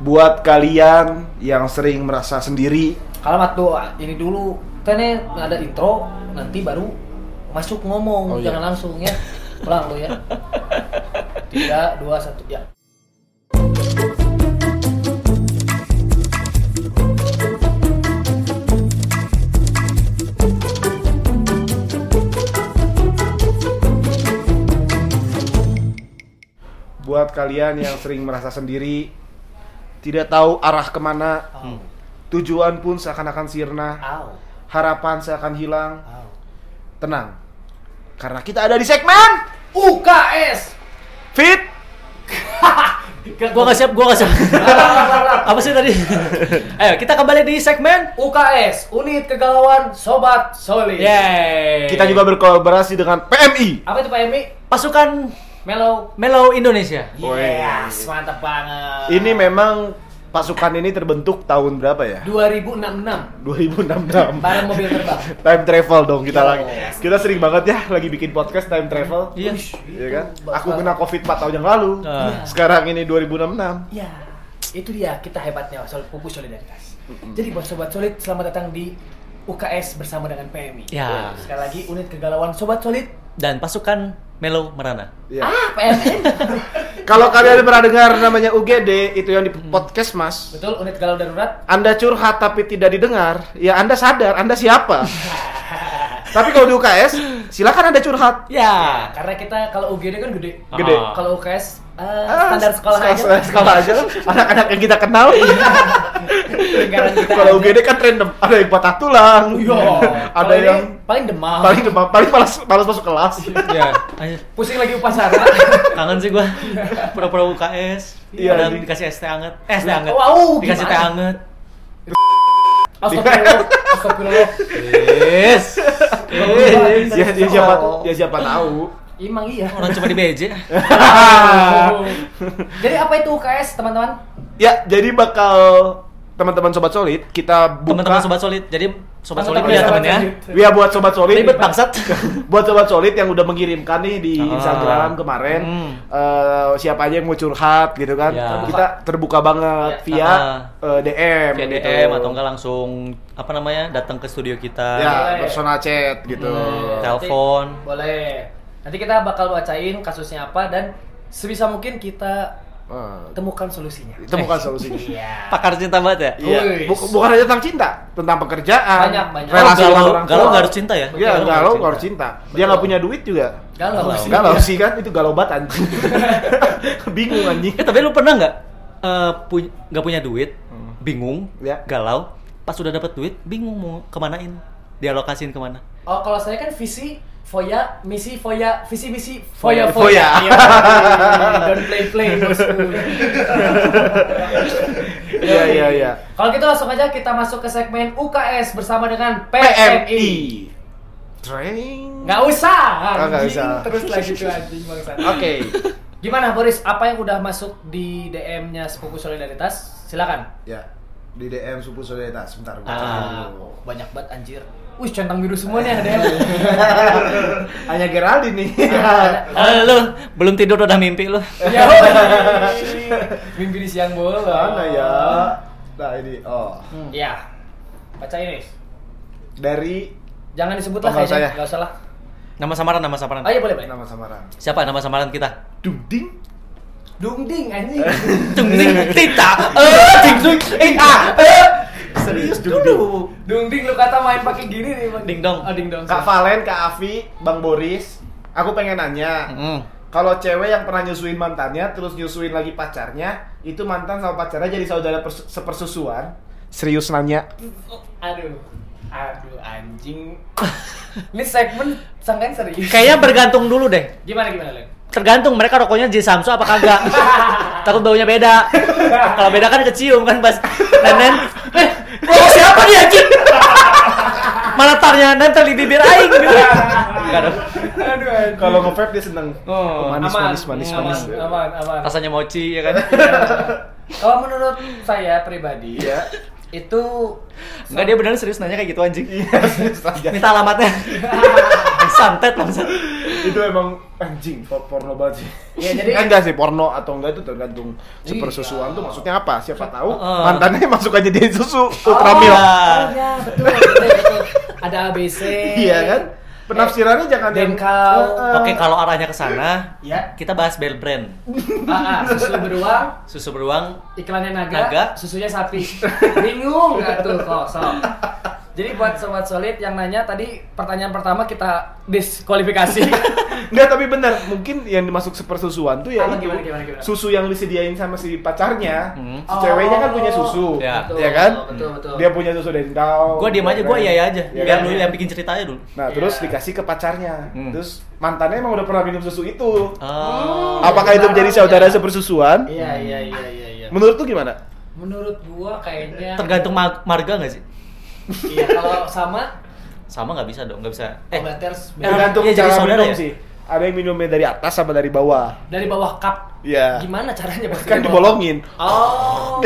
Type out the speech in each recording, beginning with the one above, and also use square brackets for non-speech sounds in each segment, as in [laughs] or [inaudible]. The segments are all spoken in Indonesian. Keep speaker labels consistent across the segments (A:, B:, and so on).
A: buat kalian yang sering merasa sendiri
B: kalimat doa ah, ini dulu tene ada intro nanti baru masuk
A: Oh,
B: ngomong
A: iya.
B: jangan langsung ya ulang lo ya tiga dua satu ya
A: buat kalian yang sering merasa sendiri tidak tahu arah kemana
B: au
A: tujuan pun seakan-akan sirna
B: au
A: harapan seakan hilang
B: au
A: tenang karena kita ada di segmen
B: UKS
A: fit
B: Gak-
C: Gua gak siap, gua gak siap. Apa sih tadi? Ayo, kita kembali di segmen.
B: UKS unit kegalauan sobat solid
C: Yeay.
A: kita juga berkolaborasi dengan PMI
B: apa itu Pak Emi
C: pasukan
B: Melo
C: Melo Indonesia.
B: yes mantap banget
A: ini memang pasukan ini terbentuk tahun berapa ya
B: 2066
A: 2066
B: bareng mobil terbang
A: time travel dong kita
B: Yo.
A: lagi kita sering banget ya lagi bikin podcast time travel
C: Iya.
B: Ush,
A: Iya
B: itu
A: kan?
B: bakal-
A: Aku kena Covid 4 tahun yang lalu.
C: Ah.
A: Sekarang ini 2066.
B: Ya, itu dia kita hebatnya Sol- Pupus Solidaritas. Jadi buat Sobat Solid, selamat datang di UKS bersama dengan PMI.
C: Ya.
B: Sekali lagi unit kegalauan Sobat Solid.
C: Dan pasukan Melo Merana.
A: Iya.
B: Ah, PMI.
A: Kalau kalian pernah dengar namanya UGD, itu yang di podcast Mas.
B: Betul, unit galau darurat.
A: Anda curhat tapi tidak didengar, ya Anda sadar Anda siapa. tapi kalau di UKS, silakan Anda curhat.
C: Ya.
B: Karena kita kalau UGD kan gede.
A: Gede.
C: Ah.
B: Kalau UKS eh,
A: Ah,
B: standar sekolah aja.
A: sekolah, sekolah aja lah. anak-anak yang kita kenal
B: Lingkaran kita.
A: kalau
B: aja.
A: UGD kan random ada yang patah tulang
B: Iya.
A: ada
B: Kalau ini
A: yang
B: paling demam.
A: paling demam paling malas malas masuk kelas
C: Ya. Ayo.
B: pusing lagi upacara.
C: Kangen sih gua. Pura-pura UKS.
A: Iya,
C: Kadang
A: jadi-
C: dikasih es teh anget. Eh, es teh anget.
B: Wow,
C: dikasih
B: gimana?
C: teh anget.
B: Astagfirullah. Astagfirullah.
C: Yes.
B: Yes.
A: ya, ya siapa ya siapa tahu
B: Emang iya.
C: Orang cuma di BJ.
A: [laughs]
B: [laughs] Jadi apa itu UKS, teman-teman?
A: Ya, jadi bakal teman-teman sobat solid kita buka.
C: Teman-teman sobat solid. Jadi sobat
B: Teman-teman
C: solid punya
B: Sobat
C: temennya.
B: Solid.
A: Ya buat sobat solid.
C: Ribet bangsat.
A: [laughs] buat sobat solid yang udah mengirimkan nih di
C: Ah.
A: Instagram kemarin
C: Hmm.
A: eh, siapa aja yang mau curhat gitu kan.
C: Ya.
A: Kita terbuka banget
B: Ya.
A: via
C: Ah.
A: eh, DM
C: Via
A: gitu.
C: DM atau enggak langsung apa namanya? datang ke studio kita.
A: Ya,
B: Boleh.
A: personal chat gitu.
C: Hmm, Telepon.
B: Nanti- Boleh. Nanti kita bakal bacain kasusnya apa dan sebisa mungkin kita
A: Eh,
B: temukan solusinya.
A: itu
B: [laughs]
A: bukan solusinya.
B: Iya.
C: Pakar cinta banget ya?
A: Iya,
B: Wih.
A: Bu- bukan hanya tentang cinta, tentang pekerjaan,
B: Banyak, banyak.
A: relasi
C: Oh,
A: dengan
C: galau-
A: orang
C: galau
A: tua.
C: nggak harus cinta ya?
A: Iya,
C: Galau nggak
A: galau
C: harus
A: nggak harus cinta. Dia nggak punya duit juga.
B: Galau
C: Galau.
B: sih.
A: Galau sih kan itu galau banget anjing. Bingung anjing.
C: Eh tapi lu pernah nggak eh, pu- nggak punya duit, bingung,
A: Ya.
C: galau, pas sudah dapat duit bingung mau kemanain, dialokasiin kemana?
B: Oh, kalau saya kan visi Foya, misi Foya, visi misi Foya
A: Foya.
B: Foya. Iya. Don't play play. bosku.
A: Iya iya iya.
B: Kalau gitu langsung aja kita masuk ke segmen UKS bersama dengan
A: PMI.
B: PMI.
A: Train.
B: Nggak usah.
A: Oh, nggak
B: anjing.
A: usah.
B: Terus lagi tuh anjing bangsa.
A: Oke.
B: Gimana Boris? Apa yang udah masuk di DM-nya sepupu solidaritas? Silakan.
A: Ya. Di DM Supu Solidaritas sebentar. gua
C: Ah.
A: cek
B: Ah,
A: dulu.
B: banyak banget anjir. Wih, centang biru semua nih
A: [laughs]
B: ada.
A: Hanya Geraldine nih.
C: Eh, lu belum tidur udah mimpi lu.
B: Ya. Mimpi di siang
A: [laughs]
B: bolong.
A: Mana ya? Nah ini oh.
B: Hmm, Ya. Baca ini.
A: Dari
B: Jangan disebut lah
A: Oh, nggak usah
B: kayaknya.
A: ya?
B: Enggak usah lah.
C: Nama samaran, nama samaran.
B: Oh, iya boleh, boleh.
A: nama samaran.
C: Siapa nama samaran
A: [laughs]
C: kita?
A: Duding.
B: Dungding anjing.
A: Eh.
B: [laughs]
C: Tungning tita. Eh, ding dong. Eh, ah. eh.
A: Serius Duding.
B: Dungding lu kata main pakai gini nih, Bang.
C: Dingdong.
B: Oh, ding dong.
A: Kak Valen, Kak Afi, Bang Boris. Aku pengen nanya.
C: Mm.
A: Kalau cewek yang pernah nyusuin mantannya terus nyusuin lagi pacarnya, itu mantan sama pacarnya jadi saudara pers- sepersusuan. Serius nanya.
B: Aduh. Aduh anjing. ini segmen sangkan serius.
C: Kayaknya bergantung dulu deh.
B: Gimana gimana, Len?
C: Tergantung mereka rokoknya J Samsu apa
A: [laughs]
C: kagak. Takut baunya beda. Kalau beda kan kecium kan pas nenen. Eh, rokok siapa nih anjing? Malah tarnya nempel di bibir aing gitu. Enggak dong.
B: Aduh anjing.
A: Kalau nge-vape dia seneng.
C: Oh,
A: manis,
B: Aman,
A: manis, manis,
B: aman,
A: manis.
B: Aman, aman.
C: Rasanya mochi ya kan.
B: Kalau menurut saya pribadi
A: Iya.
B: itu
C: Enggak dia beneran serius nanya kayak gitu anjing.
A: Iya, serius aja.
C: Minta alamatnya. Santet langsung.
A: itu emang anjing por- porno banget sih.
B: Iya, jadi-
A: Kan enggak sih porno atau enggak itu tergantung sepersusuan
B: Iya.
A: tuh maksudnya apa? Siapa tahu
C: Heeh.
A: mantannya masuk aja di susu ultramil.
B: Oh, iya, betul, betul, betul. Ada ABC.
A: Iya kan?
B: Eh,
A: Penafsirannya jangan yang-
B: Dengkal.
A: Heeh.
C: Oke, kalau arahnya ke sana,
B: Ya.
C: kita bahas bel brand.
B: Ah, ah, susu beruang,
C: Susu beruang.
B: iklannya naga,
C: Naga.
B: susunya sapi. [laughs] Bingung nggak tuh kosong. Jadi buat sobat solid yang nanya tadi pertanyaan pertama kita diskualifikasi.
A: Enggak tapi benar, mungkin yang dimasuk sepersusuan tuh ya
B: Apa,
A: itu.
B: gimana, gimana, gimana?
A: susu yang disediain sama si pacarnya.
C: Hmm.
A: Si ceweknya kan punya susu.
B: Oh,
C: [laughs] Ya.
B: betul,
A: Iya kan?
B: Betul, betul.
A: Dia punya susu dendau.
C: Gua diam aja,
A: ya
C: gua
A: kan?
C: iya aja.
A: Iya
C: Biar
A: kan?
C: lu yang bikin ceritanya dulu.
A: Nah,
B: Iya.
A: terus dikasih ke pacarnya.
C: Hmm.
A: Terus mantannya emang udah pernah minum susu itu.
C: Oh.
A: Apakah itu menjadi saudara
B: Iya.
A: sepersusuan?
B: Iya, iya, iya, iya, iya.
A: Menurut tuh gimana?
B: Menurut gua kayaknya
C: Tergantung ma- marga nggak sih?
B: Iya, kalau sama
C: Sama nggak bisa dong, nggak bisa. Eh,
B: Obaters
C: Eh,
A: Tergantung
C: iya, jadi
A: cara
C: saudara
A: minum
C: ya?
A: sih. Ada yang minumnya dari atas sama dari bawah.
B: dari bawah cup.
A: Iya.
B: Gimana caranya bos?
A: Kan
B: Dari bawah?
A: dibolongin.
B: Oh.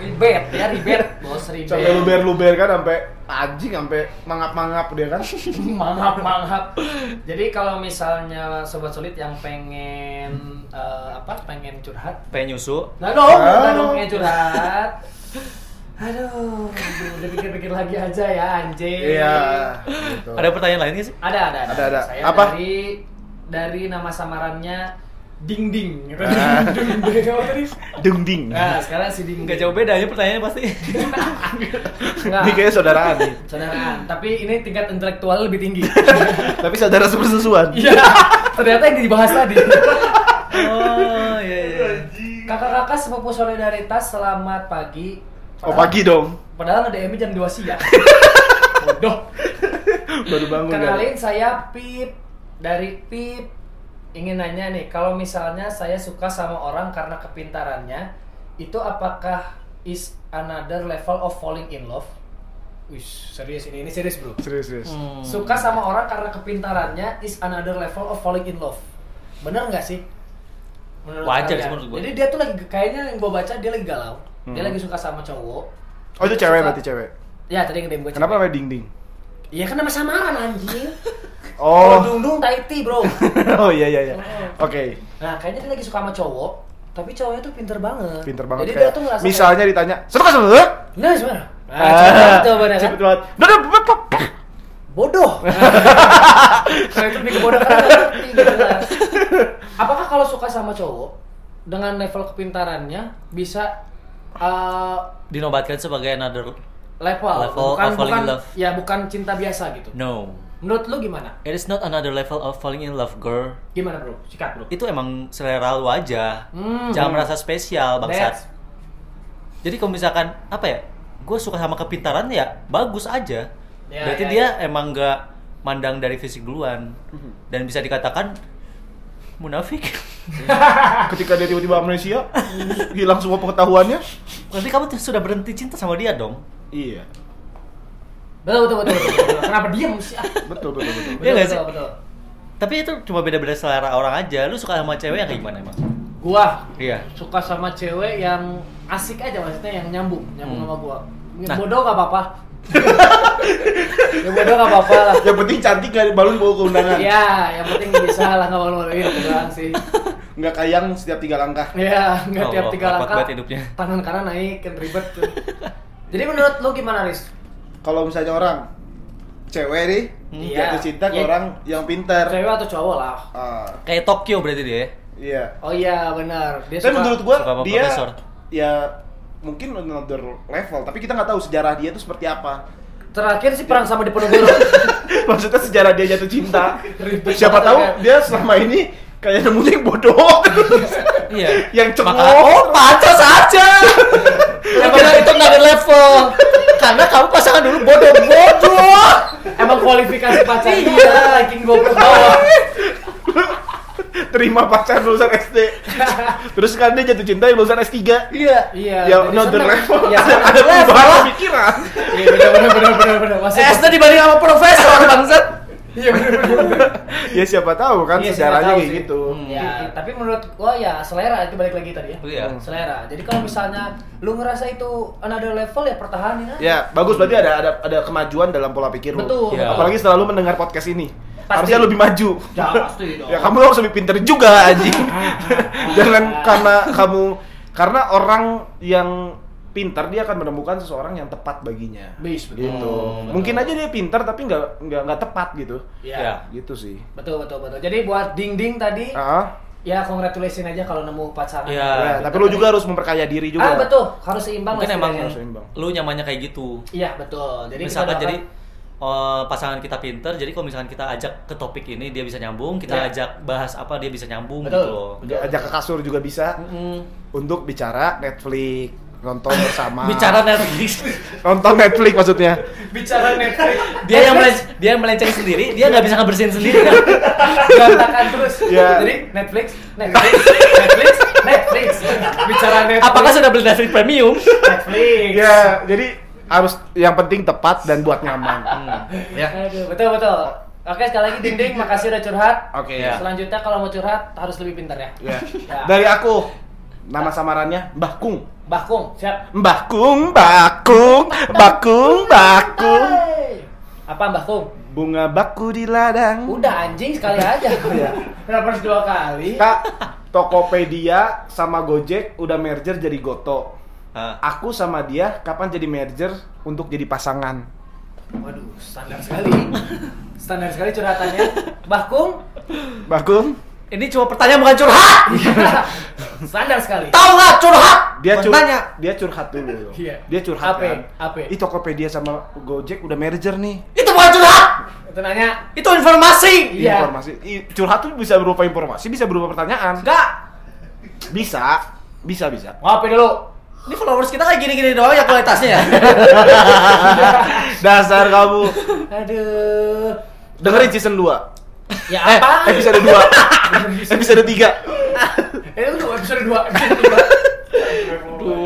B: ribet ya, ribet. Bos ribet.
A: Sampai luber-luber kan sampai anjing sampai mangap-mangap dia kan.
C: [laughs]
B: [laughs] mangap mangap jadi kalau misalnya sobat sulit yang pengen eh, apa pengen curhat
C: pengen nyusu.
B: nah dong
A: Ah.
B: nah dong pengen curhat aduh udah pikir pikir lagi aja ya anjing
A: Iya. gitu.
C: Ada pertanyaan lain nggak sih?
B: ada ada
A: Ada, ada.
B: saya
A: Apa?
B: dari dari nama samarannya ding ding gitu.
A: Ah.
B: Ding Ding. Apa tadi?
A: dengding.
B: nah sekarang si ding
C: Nggak jauh beda aja pertanyaannya pasti.
A: Ini
B: Nggak.
A: kayaknya saudaraan nih.
B: saudaraan tapi ini tingkat intelektual lebih tinggi [laughs]
A: Tapi saudara sepersusuan.
B: iya ternyata yang dibahas tadi
C: oh, iya iya.
B: Kakak-kakak sepupu solidaritas selamat pagi.
A: Oh pagi dong.
B: Padahal ada DM jam 2
A: [laughs]
B: siang. Bodoh.
A: Baru bangun. kan?
B: Kenalin saya Pip dari Pip. Ingin nanya nih, kalau misalnya saya suka sama orang karena kepintarannya, itu apakah is another level of falling in love? Wih, serius ini ini serius, Bro.
A: Serius, serius.
C: Hmm.
B: Suka sama orang karena kepintarannya is another level of falling in love. Bener nggak sih? Menurut
C: Wajar
B: kalian?
C: sih menurut gua.
B: Jadi dia tuh lagi kayaknya yang gue baca dia lagi galau. Dia
A: Hmm.
B: lagi suka sama cowok.
A: Oh itu cewek berarti cewek.
B: Ya tadi yang DM gue.
A: Kenapa namanya dingding?
B: Iya kan nama samaran
A: [laughs]
B: anjing.
A: Oh.
B: Dung dung Taiti bro.
A: [laughs] Oh iya iya iya.
B: Oh.
A: Oke.
B: Nah kayaknya dia lagi suka sama cowok. Tapi cowoknya tuh pinter banget.
A: Pinter banget
B: Jadi
A: kayak.
B: dia tuh ngerasa
A: Misalnya ditanya, "Suka sama lu?"
B: kayak, Nah gimana? Nah,
A: Ah, [laughs]
B: cepet
A: Cepet
B: banget, cepet kan?
A: banget. Duh, duh, duh, duh, duh.
B: Bodoh. [laughs] Nah, itu bikin bodoh karena nggak ngerti, nggak jelas. Apakah kalau suka sama cowok dengan level kepintarannya bisa eh,
C: Dinobatkan sebagai another
B: level,
C: Level
B: bukan
C: of falling
B: bukan
C: in love.
B: ya bukan cinta biasa gitu.
C: no.
B: Menurut lu gimana?
C: It is not another level of falling in love, girl.
B: Gimana bro? Sikat bro.
C: Itu emang selera lu aja.
B: Hmm.
C: Jangan merasa spesial, bangsat.
B: That's-
C: Jadi kalau misalkan apa ya, gue suka sama kepintaran ya bagus aja.
B: Ya,
C: Berarti
B: ya, Hmm.
C: dia emang nggak mandang dari fisik duluan dan bisa dikatakan munafik.
A: Ketika dia tiba-tiba amnesia, hilang semua pengetahuannya.
C: Berarti kamu tuh sudah berhenti cinta sama dia dong.
A: Iya.
B: Betul betul betul. betul, betul. Kenapa diem sih? Ah,
A: Betul, betul, betul.
B: Betul,
C: Iya nggak
B: betul,
C: sih?
B: betul.
C: Tapi itu cuma beda-beda selera orang aja. Lu suka sama cewek yang kayak gimana emang?
B: Gua
C: Iya.
B: suka sama cewek yang asik aja maksudnya yang nyambung, nyambung
C: Hmm.
B: sama gua. Ya,
C: Nah.
B: Bodoh gak apa-apa. [laughs] ya bodoh gak apa-apa lah.
A: Yang penting cantik gak balon bawa ke undangan.
B: Iya, yang penting bisa lah nggak malu-maluin itu doang sih.
A: Nggak kayang setiap tiga langkah.
B: Iya, nggak
C: Allah,
B: tiap tiga
C: repot
B: langkah.
C: banget hidupnya.
B: Tangan kanan naik kan ribet tuh. Jadi menurut lu gimana, Riz?
A: Kalau misalnya orang cewek nih,
B: Hmm.
A: jatuh
B: Iya.
A: cinta ke
B: Iya.
A: orang yang pintar.
B: Cewek atau cowok lah?
A: Ah,
C: Kayak Tokyo berarti dia. ya?
A: iya.
B: Oh iya, benar. Dia
A: Tapi
B: suka-
A: menurut gua
C: suka sama
A: dia
C: profesor.
A: ya mungkin another level, tapi kita nggak tahu sejarah dia itu seperti apa.
B: [laughs] terakhir sih perang sama
A: [laughs]
B: Diponegoro.
A: Maksudnya sejarah dia jatuh cinta.
B: [laughs] Ribet
A: Siapa
B: banget
A: tahu
B: ya.
A: dia selama ini kayak nemunya yang
B: [laughs]
A: bodoh.
C: [laughs] Iya.
A: yang cengok.
C: Maka, oh pantas [laughs] aja. Lu kira itu nggak ada level. Karena kamu pasangan dulu bodoh-bodoh. [laughs]
B: Emang kualifikasi pacarnya
A: Iya.
B: adalah ranking gua ke bawah.
A: Terima pacar lulusan SD. Terus kan dia jatuh cinta yang lulusan S3. [laughs] Iya.
B: Iya,
A: Ya
B: jadi
A: another
B: senang.
A: level.
B: Iya,
A: [laughs] ada perubahan pemikiran.
B: Iya benar benar benar benar benar. Masih
C: SD dibanding sama [laughs] profesor bangsat.
B: Iya benar benar.
A: ya siapa tahu kan
B: Iya, siapa
A: sejarahnya
B: tahu
A: kayak
B: sih.
A: gitu.
C: Hmm.
B: Ya, tapi menurut gua ya selera itu balik lagi tadi ya.
C: Iya.
B: Selera. Jadi kalau misalnya lu ngerasa itu another level ya pertahanin aja.
A: Ya, bagus berarti ada ada ada kemajuan dalam pola pikir lu.
B: Betul.
C: Iya.
A: Apalagi setelah lu mendengar podcast ini. harusnya lebih maju.
B: Ya, pasti dong.
A: ya kamu harus lebih pinter juga
B: [laughs]
A: anjing. Jangan karena kamu karena orang yang pintar dia akan menemukan seseorang yang tepat baginya.
B: Bis, betul.
A: Gitu.
B: Betul.
A: Mungkin aja dia pintar tapi nggak nggak nggak tepat gitu.
B: Ya.
C: Ya.
A: Gitu sih.
B: Betul, betul, betul. Jadi buat Ding Ding tadi,
A: Ah,
B: ya congratulations aja kalau nemu pacaran.
C: Iya.
A: ya, tapi lu juga harus memperkaya diri juga.
B: Ah, betul. Harus seimbang lah
C: Mungkin emang
B: setidaknya.
A: harus seimbang.
C: lu nyamannya kayak gitu.
B: Iya, betul. Jadi kita
C: misalkan
B: doakan-
C: jadi eh, pasangan kita pinter, jadi kalau misalkan kita ajak ke topik ini dia bisa nyambung, kita
B: Ya.
C: ajak bahas apa dia bisa nyambung
B: Betul. Mm.
C: gitu loh.
A: Dia ajak ke kasur juga bisa
C: Mm-mm.
A: untuk bicara Netflix nonton bersama.
C: Bicara Netflix,
A: nonton Netflix maksudnya.
B: Ah. [laughs] bicara Netflix,
C: dia yang melenc- dia yang melenceng sendiri, dia nggak bisa ngebersihin
B: [laughs]
C: sendiri kan?
B: berantakan terus.
A: Iya.
B: Jadi Netflix, Netflix, Netflix, Netflix. Bicara Netflix.
C: Apakah sudah beli Netflix Premium?
B: Netflix?
A: Iya, jadi harus yang penting tepat dan buat nyaman.
C: ya.
B: Aduh, betul betul. Oke sekali lagi Dinding, makasih udah curhat.
A: Oke,
C: ya.
B: Selanjutnya kalau mau curhat harus lebih pintar ya.
A: Ya.
B: Ya.
A: Dari aku nama samarannya Mbah Kung.
B: Mbah Kung, siap.
A: Mbah Kung, Mbah Kung, Mbah Kung, Mbah Kung.
B: Hey. Apa Mbah Kung?
A: Bunga baku di ladang.
B: Udah anjing sekali
A: [laughs]
B: aja.
A: Iya.
B: Kenapa harus dua kali?
A: Kak, Tokopedia sama Gojek udah merger jadi Goto.
C: Hah.
A: Aku sama dia kapan jadi merger untuk jadi pasangan?
B: Waduh, standar sekali. Standar sekali curhatannya. Mbah Kung,
A: [laughs] Mbah Kung,
C: Ini cuma pertanyaan bukan curhat.
B: standar sekali.
C: Tahu nggak curhat?
A: dia
C: Bukan
A: cur-
C: tanya.
A: dia curhat dulu.
B: Iya.
A: Dia curhat.
B: Ape,
A: kan.
B: ape.
A: Ih, Tokopedia sama Gojek udah merger nih.
C: Itu bukan curhat.
B: Itu nanya.
C: Itu informasi.
B: Iya.
A: informasi I- curhat tuh bisa berupa informasi bisa berupa pertanyaan
C: Enggak.
A: bisa bisa bisa [laughs]
B: Ngopi dulu.
C: Ini followers kita kayak gini-gini doang ya kualitasnya ya.
A: dasar kamu
B: Aduh.
A: dengerin season 2
B: Ya
A: eh
B: apa?
A: episode 2 episode 3
B: [laughs] Eh, itu udah episode 2. Episode dua.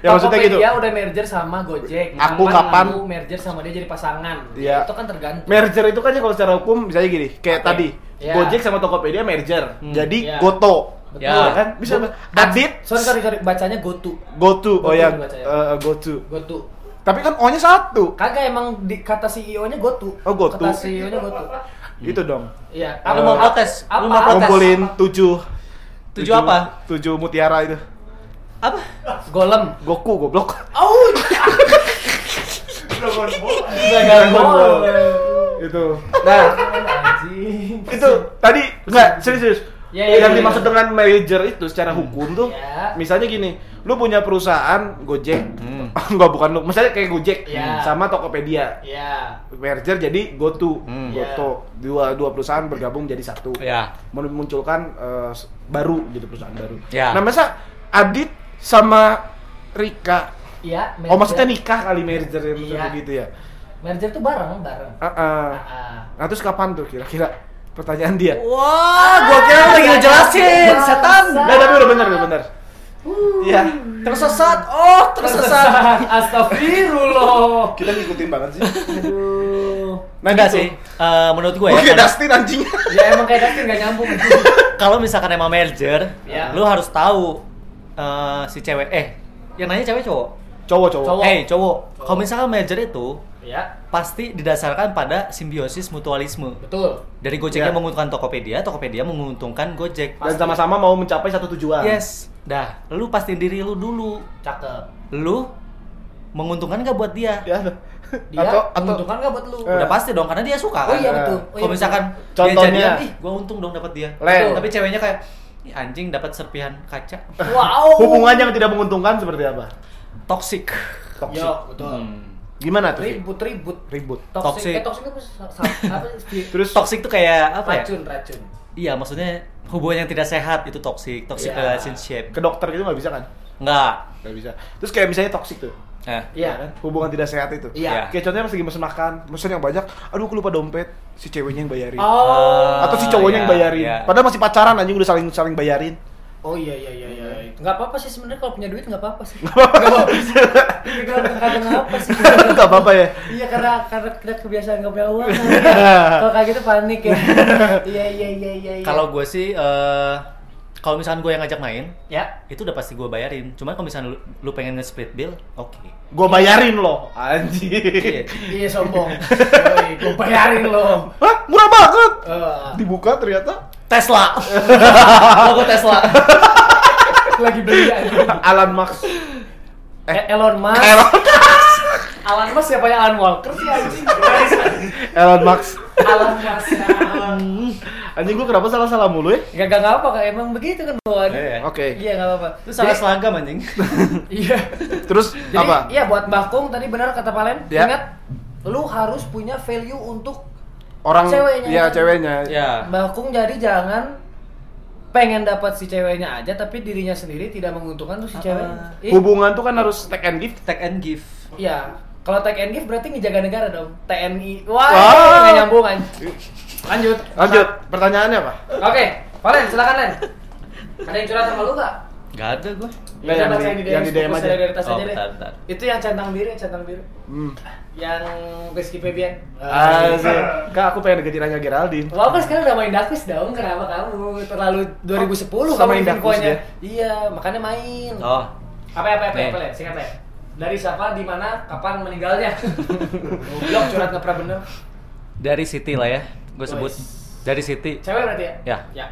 A: ya maksudnya gitu
B: Tokopedia udah merger sama Gojek.
A: Aku kapan-
B: Aku merger sama dia jadi pasangan.
A: Iya.
B: Itu kan tergantung.
A: merger itu kan ya kalau secara hukum misalnya gini kayak
B: Oke.
A: tadi
B: Iya.
A: Gojek sama Tokopedia merger
C: Hmm,
A: jadi
B: iya.
A: Goto
B: Betul.
C: Ya.
A: ya kan bisa
B: Go-
A: Adit
B: Sorry, sorry, sorry. Bacanya Gotu.
A: Goto oh
B: Goto
A: ya
B: dibaca ya.
A: eh, Goto
B: Gotu.
A: tapi kan O nya satu
B: Kagak emang di, kata CEO-nya Gotu.
A: Oh, Gotu.
B: Kata CEO-nya Gotu.
A: itu Gitu dong
B: Iya.
C: Lu mau protes? Lu mau protes?
A: kumpulin tujuh
C: Tujuh apa?
A: tujuh mutiara itu
C: Apa?
B: Golem.
A: Goku goblok
B: Oh,
A: Dragon Ball. Itu. Nah,
B: anjing.
A: itu tadi enggak serius. serius.
B: Ya,
C: Iya,
B: ya,
A: yang
B: ya,
A: dimaksud
B: ya.
A: dengan merger itu secara
C: Hmm.
A: hukum tuh
B: Ya.
C: Iya.
A: misalnya gini, lu punya perusahaan Gojek.
C: Hmm.
A: [laughs] Enggak bukan lu, misalnya kayak Gojek
B: Ya.
C: Iya.
A: sama Tokopedia.
B: Iya.
A: Merger jadi GoTo.
C: Hmm.
A: GoTo. Dua dua perusahaan bergabung jadi satu.
C: Ya.
A: Memunculkan eh, s- baru gitu perusahaan baru.
C: Ya.
A: Nah, masa Adit sama Rika
B: Iya, merger.
A: Oh maksudnya nikah kali merger yang
B: Iya.
A: gitu ya?
B: Merger tuh bareng, bareng.
A: Ah, ah.
B: Ah.
A: Nah terus kapan tuh kira-kira pertanyaan dia?
C: Wah, gua kira lu lagi ngejelasin, setan.
B: Uh,
A: Nah tapi udah bener, udah bener Iya
C: Tersesat. Oh, tersesat.
B: Astagfirullah.
A: Kita ngikutin banget [laughs] sih
B: Aduh.
A: Nah
C: Enggak
A: gitu.
C: sih. Eh, menurut gue
A: Oke
C: ya. kalau-
A: Dustin anjing
B: Ya emang kayak Dustin gak nyambung.
C: Kalau misalkan emang merger,
B: Ya.
C: lu harus tahu eh, si cewek eh yang nanya cewek cowok.
A: Cowok cowok
B: Cowok.
C: Eh, cowok.
B: Cowok.
C: Kalau misalkan merger itu
B: ya,
C: pasti didasarkan pada simbiosis mutualisme.
B: betul.
C: Dari Gojek yang
A: Ya.
C: menguntungkan Tokopedia, Tokopedia menguntungkan Gojek.
A: Dan sama-sama mau mencapai satu tujuan
C: Yes. Dah, lu pastiin diri lu dulu.
B: Cakep.
C: Lu menguntungkan gak buat dia?
B: Iya.
A: Ya
B: Dia
A: Atau, atau
B: menguntungkan gak buat lu?
C: Udah pasti dong karena dia suka
B: Oh
C: kan.
B: iya betul. Oh, iya,
C: Kalau misalkan
A: betul. Contohnya.
C: dia jadian, ih gua untung dong dapat dia.
A: Len.
C: Tapi ceweknya kayak "Ih, anjing dapat serpihan kaca.
B: betul. Wow.
A: Hubungan yang tidak menguntungkan seperti apa?
C: Toxic.
A: Toxic
B: Yo, betul.
A: Gimana tuh? Fit?
B: Ribut, ribut.
A: Ribut
B: Toxic.
C: Hmm, Toxic.
B: Eh, toxic apa? sa- sa- apa sih?
A: Terus
C: Toxic tuh kayak apa ya?
B: Racun, racun.
C: Iya, maksudnya hubungan yang tidak sehat itu toxic, toxic
B: Iya.
C: relationship.
A: ke dokter gitu nggak bisa kan?
C: Enggak.
A: Nggak bisa Terus kayak misalnya toxic tuh ya kan?
C: Eh.
B: Iya.
A: Hubungan tidak sehat itu
B: Iya.
A: Kayak contohnya pas lagi mesen makan Mesen yang banyak Aduh aku lupa dompet Si ceweknya yang bayarin
B: Oh.
A: Atau si cowoknya yang
C: Iya,
A: bayarin
C: iya.
A: Padahal masih pacaran anjing udah saling saling [laughs] bayarin
B: Oh iya iya iya iya. Enggak apa-apa sih sebenarnya kalau punya duit enggak apa-apa sih. Enggak apa-apa. Kadang apa sih?
A: Gak apa-apa ya?
B: Iya karena karena kita kebiasaan nggak punya uang. Kalau kayak gitu panik ya. Iya iya iya iya. iya.
C: Kalau gue sih eh kalau misalkan gue yang ngajak main,
B: Ya.
C: itu udah pasti gue bayarin. Cuman kalau misalkan lu, lu pengen nge-split bill, oke.
B: [laughs]
A: Gua bayarin lo, anjir.
B: Iya sombong. Yoi, Gue bayarin lo.
A: Hah? Murah banget.
B: Eh,
A: Dibuka ternyata
C: [laughs] Tesla. Logo Tesla.
B: lagi beli aja.
A: [laughs] Alan Max.
B: Eh, Elon Musk.
A: Elon, [laughs]
B: Alan Musk siapa yang Alan Walker sih anjing?
A: Elon Max.
B: Alan Musk. ya Alan.
A: Anjing gua kenapa salah-salah mulu ya?
B: Gak gak apa kak emang begitu kan bawaannya.
C: Iya.
A: Oke.
B: Iya nggak apa-apa.
C: Itu salah
B: Jadi-
C: seragam anjing.
B: Iya.
A: Terus
B: Jadi
A: apa?
B: iya buat Mbah Kung tadi benar kata Palen.
A: Ya.
B: Ingat lu harus punya value untuk
A: Orang
B: Ceweknya.
A: ya ceweknya.
C: ya.
B: Mbah Kung jadi jangan pengen dapat si ceweknya aja tapi dirinya sendiri tidak menguntungkan tuh si
C: Ah.
B: cewek. Ih,
A: Hubungan tuh kan harus take and give.
C: Tag and give.
B: Iya. Kalau take and give berarti ngejaga negara dong. TNI. Wah,
A: Wah.
B: nggak nyambung kan. Lanjut.
A: Lanjut, pertanyaannya apa?
B: Oke, Valen silakan Len. Ada yang curhat sama lu nggak?
C: Gak ada gue.
A: Nggak,
B: Kita
A: yang
B: baca
A: di- yang di DM
B: fokus
A: aja.
B: solidaritas
C: Oh,
B: aja deh.
C: bentar, bentar.
B: Itu yang centang biru, yang centang biru.
A: Hmm.
B: Yang Rizky Febian.
A: Eh, Asik. Kak, aku pengen deketin Anya Geraldine.
B: Wow, kan sekarang udah main Dakus dong. Kenapa kamu terlalu
A: Oh,
B: 2010 kamu
A: main
B: bikin
A: Dakus
B: koinnya?
A: dia.
B: Iya, makanya main.
C: Oh.
B: Apa apa apa
C: Nih.
B: apa ya? Singkat ya. Dari siapa, di mana, kapan meninggalnya? Goblok curhat nggak pernah bener.
C: Dari City lah ya. Gue sebut
B: Wes.
C: dari City.
B: Cewek berarti ya?
C: Ya.
B: Ya.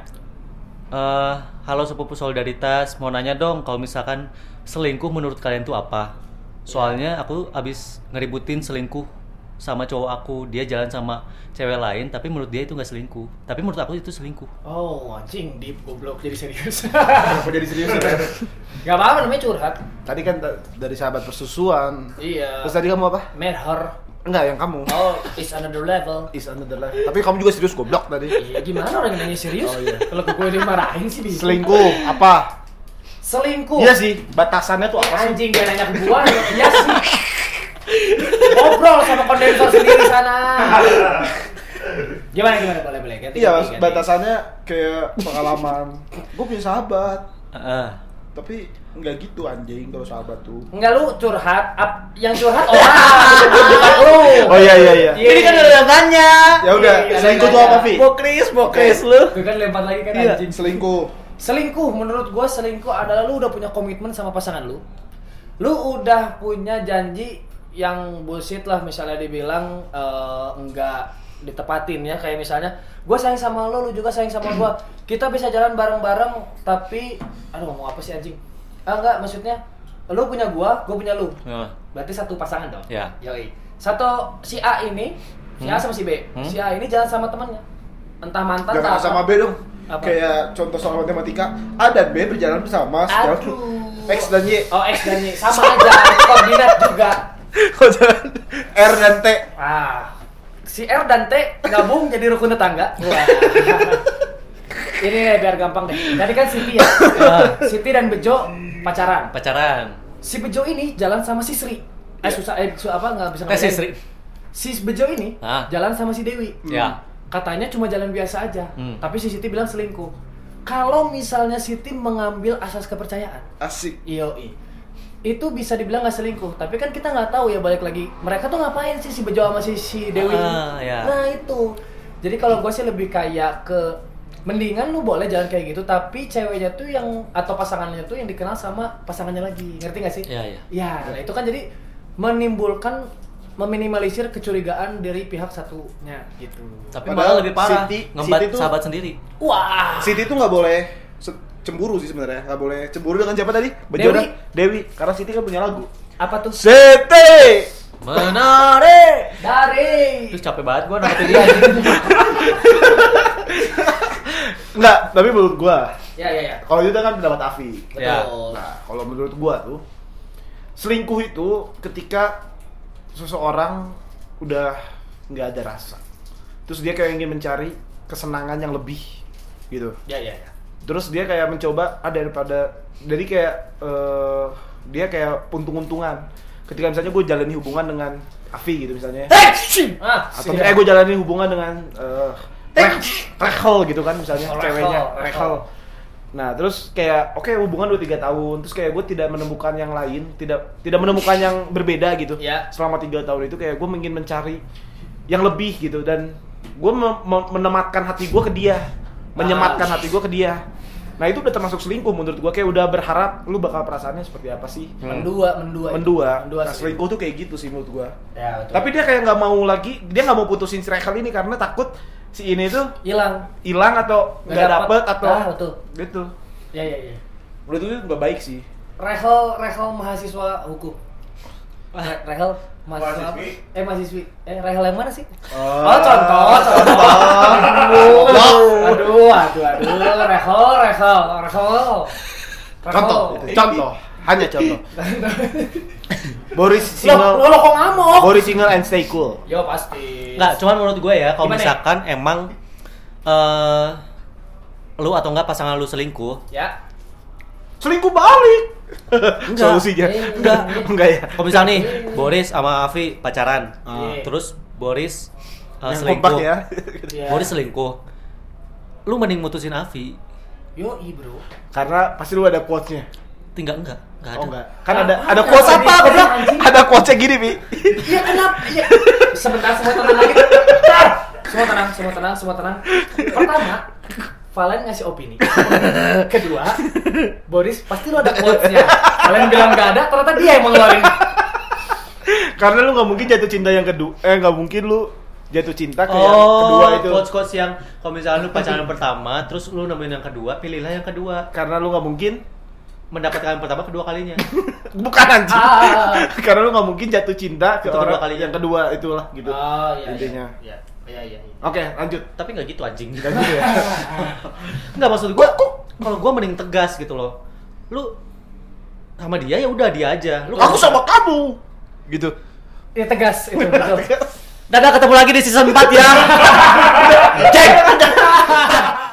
C: Eh, halo sepupu solidaritas, mau nanya dong kalau misalkan selingkuh menurut kalian tuh apa? Soalnya aku abis ngeributin selingkuh sama cowok aku, dia jalan sama cewek lain, tapi menurut dia itu nggak selingkuh. Tapi menurut aku itu selingkuh.
B: Oh, anjing deep goblok jadi serius. [laughs]
A: Kenapa jadi serius? ya?
B: Gak apa-apa namanya curhat.
A: Tadi kan ta- dari sahabat persusuan.
B: Iya.
A: Terus tadi kamu apa?
B: Met her.
A: Enggak, yang kamu.
B: Oh, it's another level.
A: Is another life. Tapi kamu juga serius goblok tadi.
B: Iya gimana orang yang nanya serius?
A: Oh, iya.
B: Kalau ke gue dimarahin sih bisa.
A: Selingkuh apa?
B: Selingkuh.
A: Iya sih, batasannya tuh apa sih?
B: Anjing dia nanya ke gua, ya iya sih. Ngobrol sama kondensor sendiri sana. Gimana gimana boleh boleh ganti.
A: Iya,
B: ganti, ganti.
A: batasannya kayak pengalaman. Gue punya sahabat,
C: Heeh.
A: tapi nggak gitu anjing kalau sahabat tuh.
B: Enggak lu curhat, ap- yang curhat orang bukan lu.
A: [laughs] Oh iya iya iya.
B: Iya.
C: Ini kan udah tanya.
A: Ya udah,
B: Iya,
A: selingkuh
B: iya,
A: tuh
B: iya.
A: apa, Vi?
C: Bokris, bokris
A: Oke.
C: lu.
B: Itu kan lempar lagi kan
C: Iya.
B: anjing.
A: Selingkuh.
B: Selingkuh menurut gua selingkuh adalah lu udah punya komitmen sama pasangan lu. Lu udah punya janji yang bullshit lah misalnya dibilang eh, enggak ditepatin ya kayak misalnya gua sayang sama lu, lu juga sayang sama gua. Kita bisa jalan bareng-bareng tapi aduh ngomong apa sih anjing? Ah enggak maksudnya lu punya gua, gua punya lu.
C: Heeh.
B: Berarti satu pasangan dong.
C: Ya.
B: Yoi. Satu si A ini, si A sama si B.
C: Hmm.
B: Si A ini jalan sama temannya. Entah mantan
A: Jangan
B: entah
A: A sama B
B: apa.
A: dong.
B: Apa?
A: Kayak contoh soal matematika, A dan B berjalan bersama sejauh
B: Aduh.
A: X dan Y,
B: Oh X dan Y sama aja koordinat juga.
A: Oh, R dan T.
B: Ah. Si R dan T gabung jadi rukun tetangga. Wah. [laughs] Ini deh, biar gampang deh. Tadi kan Siti ya.
C: Ah.
B: Siti dan Bejo pacaran.
C: Pacaran.
B: Si Bejo ini jalan sama si Sri. Eh susah eh su- apa nggak bisa
C: Iya. Eh, si
B: ngebedain.
C: Sri.
B: Si Bejo ini
C: Ah.
B: jalan sama si Dewi.
A: Hmm.
C: Ya.
B: Katanya cuma jalan biasa aja,
C: Hmm.
B: tapi si Siti bilang selingkuh. Kalau misalnya Siti mengambil asas kepercayaan,
A: Asik.
B: IOI itu bisa dibilang nggak selingkuh tapi kan kita nggak tahu ya balik lagi mereka tuh ngapain sih si Bejo sama si, si Dewi
C: Ah, ya.
B: nah itu jadi kalau gue sih lebih kayak ke mendingan lu boleh jalan kayak gitu tapi ceweknya tuh yang atau pasangannya tuh yang dikenal sama pasangannya lagi ngerti gak sih
C: Iya, iya.
B: ya nah itu kan jadi menimbulkan meminimalisir kecurigaan dari pihak satunya gitu
C: Tapi
A: Padahal
C: malah lebih parah.
A: Siti-
C: ngembat
A: Siti tuh-
C: sahabat sendiri.
B: wah
A: Siti tuh nggak boleh se- cemburu sih sebenarnya nggak boleh cemburu dengan siapa tadi Bejo
B: Dewi.
A: dan Dewi karena Siti kan punya lagu
B: apa tuh
A: Siti
C: Menarik.
B: dari
C: Terus capek banget
A: [laughs]
C: gua nangkepin dia. anjing.
A: Nggak, tapi menurut gua
B: ya ya ya
A: kalau itu kan pendapat Afi
C: Ya.
B: betul
A: nah kalau menurut gua tuh selingkuh itu ketika seseorang udah nggak ada rasa terus dia kayak ingin mencari kesenangan yang lebih gitu
B: ya ya ya
A: terus dia kayak mencoba ada daripada jadi kayak eh, dia kayak untung-untungan ketika misalnya gue jalani hubungan dengan Afi gitu misalnya
B: ah
A: atau
B: siap.
A: misalnya gue jalani hubungan dengan eh, Reh- Rachel gitu kan misalnya
B: Oh, Rachel,
A: ceweknya
B: Rachel.
A: Rachel nah terus kayak oke hubungan udah tiga tahun terus kayak gue tidak menemukan yang lain tidak tidak menemukan yang berbeda gitu
B: Ya.
A: selama tiga tahun itu kayak gue ingin mencari yang lebih Ah. gitu dan gue menematkan hati gue ke dia menyematkan hati gue ke dia Nah itu udah termasuk selingkuh menurut gua kayak udah berharap lu bakal perasaannya seperti apa sih?
B: Mendua, mendua. itu.
A: Hmm. Mendua.
B: Mendua
A: Nah,
B: selingkuh.
A: selingkuh tuh kayak gitu sih menurut gua.
B: Ya, betul.
A: Tapi dia kayak nggak mau lagi, dia nggak mau putusin si Rachel ini karena takut si ini tuh
B: hilang.
A: hilang atau
B: Nggak
A: nggak
B: dapet.
A: dapet atau
B: Ah, betul.
A: gitu.
B: Ya, ya, ya.
A: Menurut itu nggak baik sih.
B: Rehel, Rehel mahasiswa hukum. Re- Rehel mahasiswa apa?
D: Mahasiswi.
B: Eh mahasiswi. Eh Rehel yang mana sih?
A: Oh,
B: contoh, contoh. aduh, aduh, aduh, aduh. Rehel, Rehel, Rehel.
A: Contoh,
B: Rehel.
A: itu, contoh, hanya [laughs] contoh. Boris
B: Lo, lo,
A: single,
B: lo kok ngamuk?
A: Boris single and stay cool.
B: Yo pasti.
C: Nggak, cuman menurut gue ya, kalau
B: Gimana ya?
C: misalkan emang eh lu atau enggak pasangan lu selingkuh,
B: Ya.
A: Selingkuh balik.
C: Enggak.
A: Solusinya
B: Eh,
A: enggak,
B: eh.
A: enggak ya.
C: kalau misalnya nih Boris sama Avi pacaran, eh,
B: Ah.
C: terus Boris
A: Iya.
C: eh,
A: Yang kompak
C: selingkuh,
A: ya.
B: Ya.
C: Boris selingkuh, lu mending mutusin Avi,
B: Yo, i bro.
A: Karena pasti lu ada quotes-nya.
C: tinggal enggak, enggak ada.
A: Oh enggak. Kan ada
B: Ah,
A: ada quotes
B: ada
A: apa? Gua bilang
B: anjing.
A: ada quotes gini, Bi.
B: Iya kenapa? Iya. Sebentar semua tenang lagi. Semua tenang, semua tenang, semua tenang. Pertama, Valen ngasih opini. Kedua, Boris pasti lo ada quotes-nya. Valen bilang gak ada, ternyata dia yang mengeluarin.
A: Karena lu nggak mungkin jatuh cinta yang kedua. Eh nggak mungkin lu jatuh cinta ke yang
C: Oh,
A: kedua itu.
C: quotes quotes yang kalau misalnya lu pacaran pertama, terus lu nemuin yang kedua, pilihlah yang kedua,
A: Karena lu nggak mungkin
C: mendapatkan yang pertama kedua
A: [laughs]
C: kalinya.
A: bukan anjing.
B: Ah.
A: [laughs] Karena lu nggak mungkin jatuh cinta ke
C: Itu kedua
A: orang
C: kalinya. Ah.
A: yang kedua itulah gitu.
B: Oh, iya.
A: Intinya.
B: Iya, iya, iya. iya.
A: Oke,
C: [laughs]
A: lanjut.
C: Tapi nggak gitu anjing.
A: Gak gitu ya.
C: Nggak maksud gua, kalau gua mending tegas gitu loh. Lu sama dia ya udah dia aja. Lu
A: Aku sama kamu. Gitu.
B: Iya tegas itu betul.
A: [laughs]
C: Dadah ketemu lagi di season 4 ya. Cek.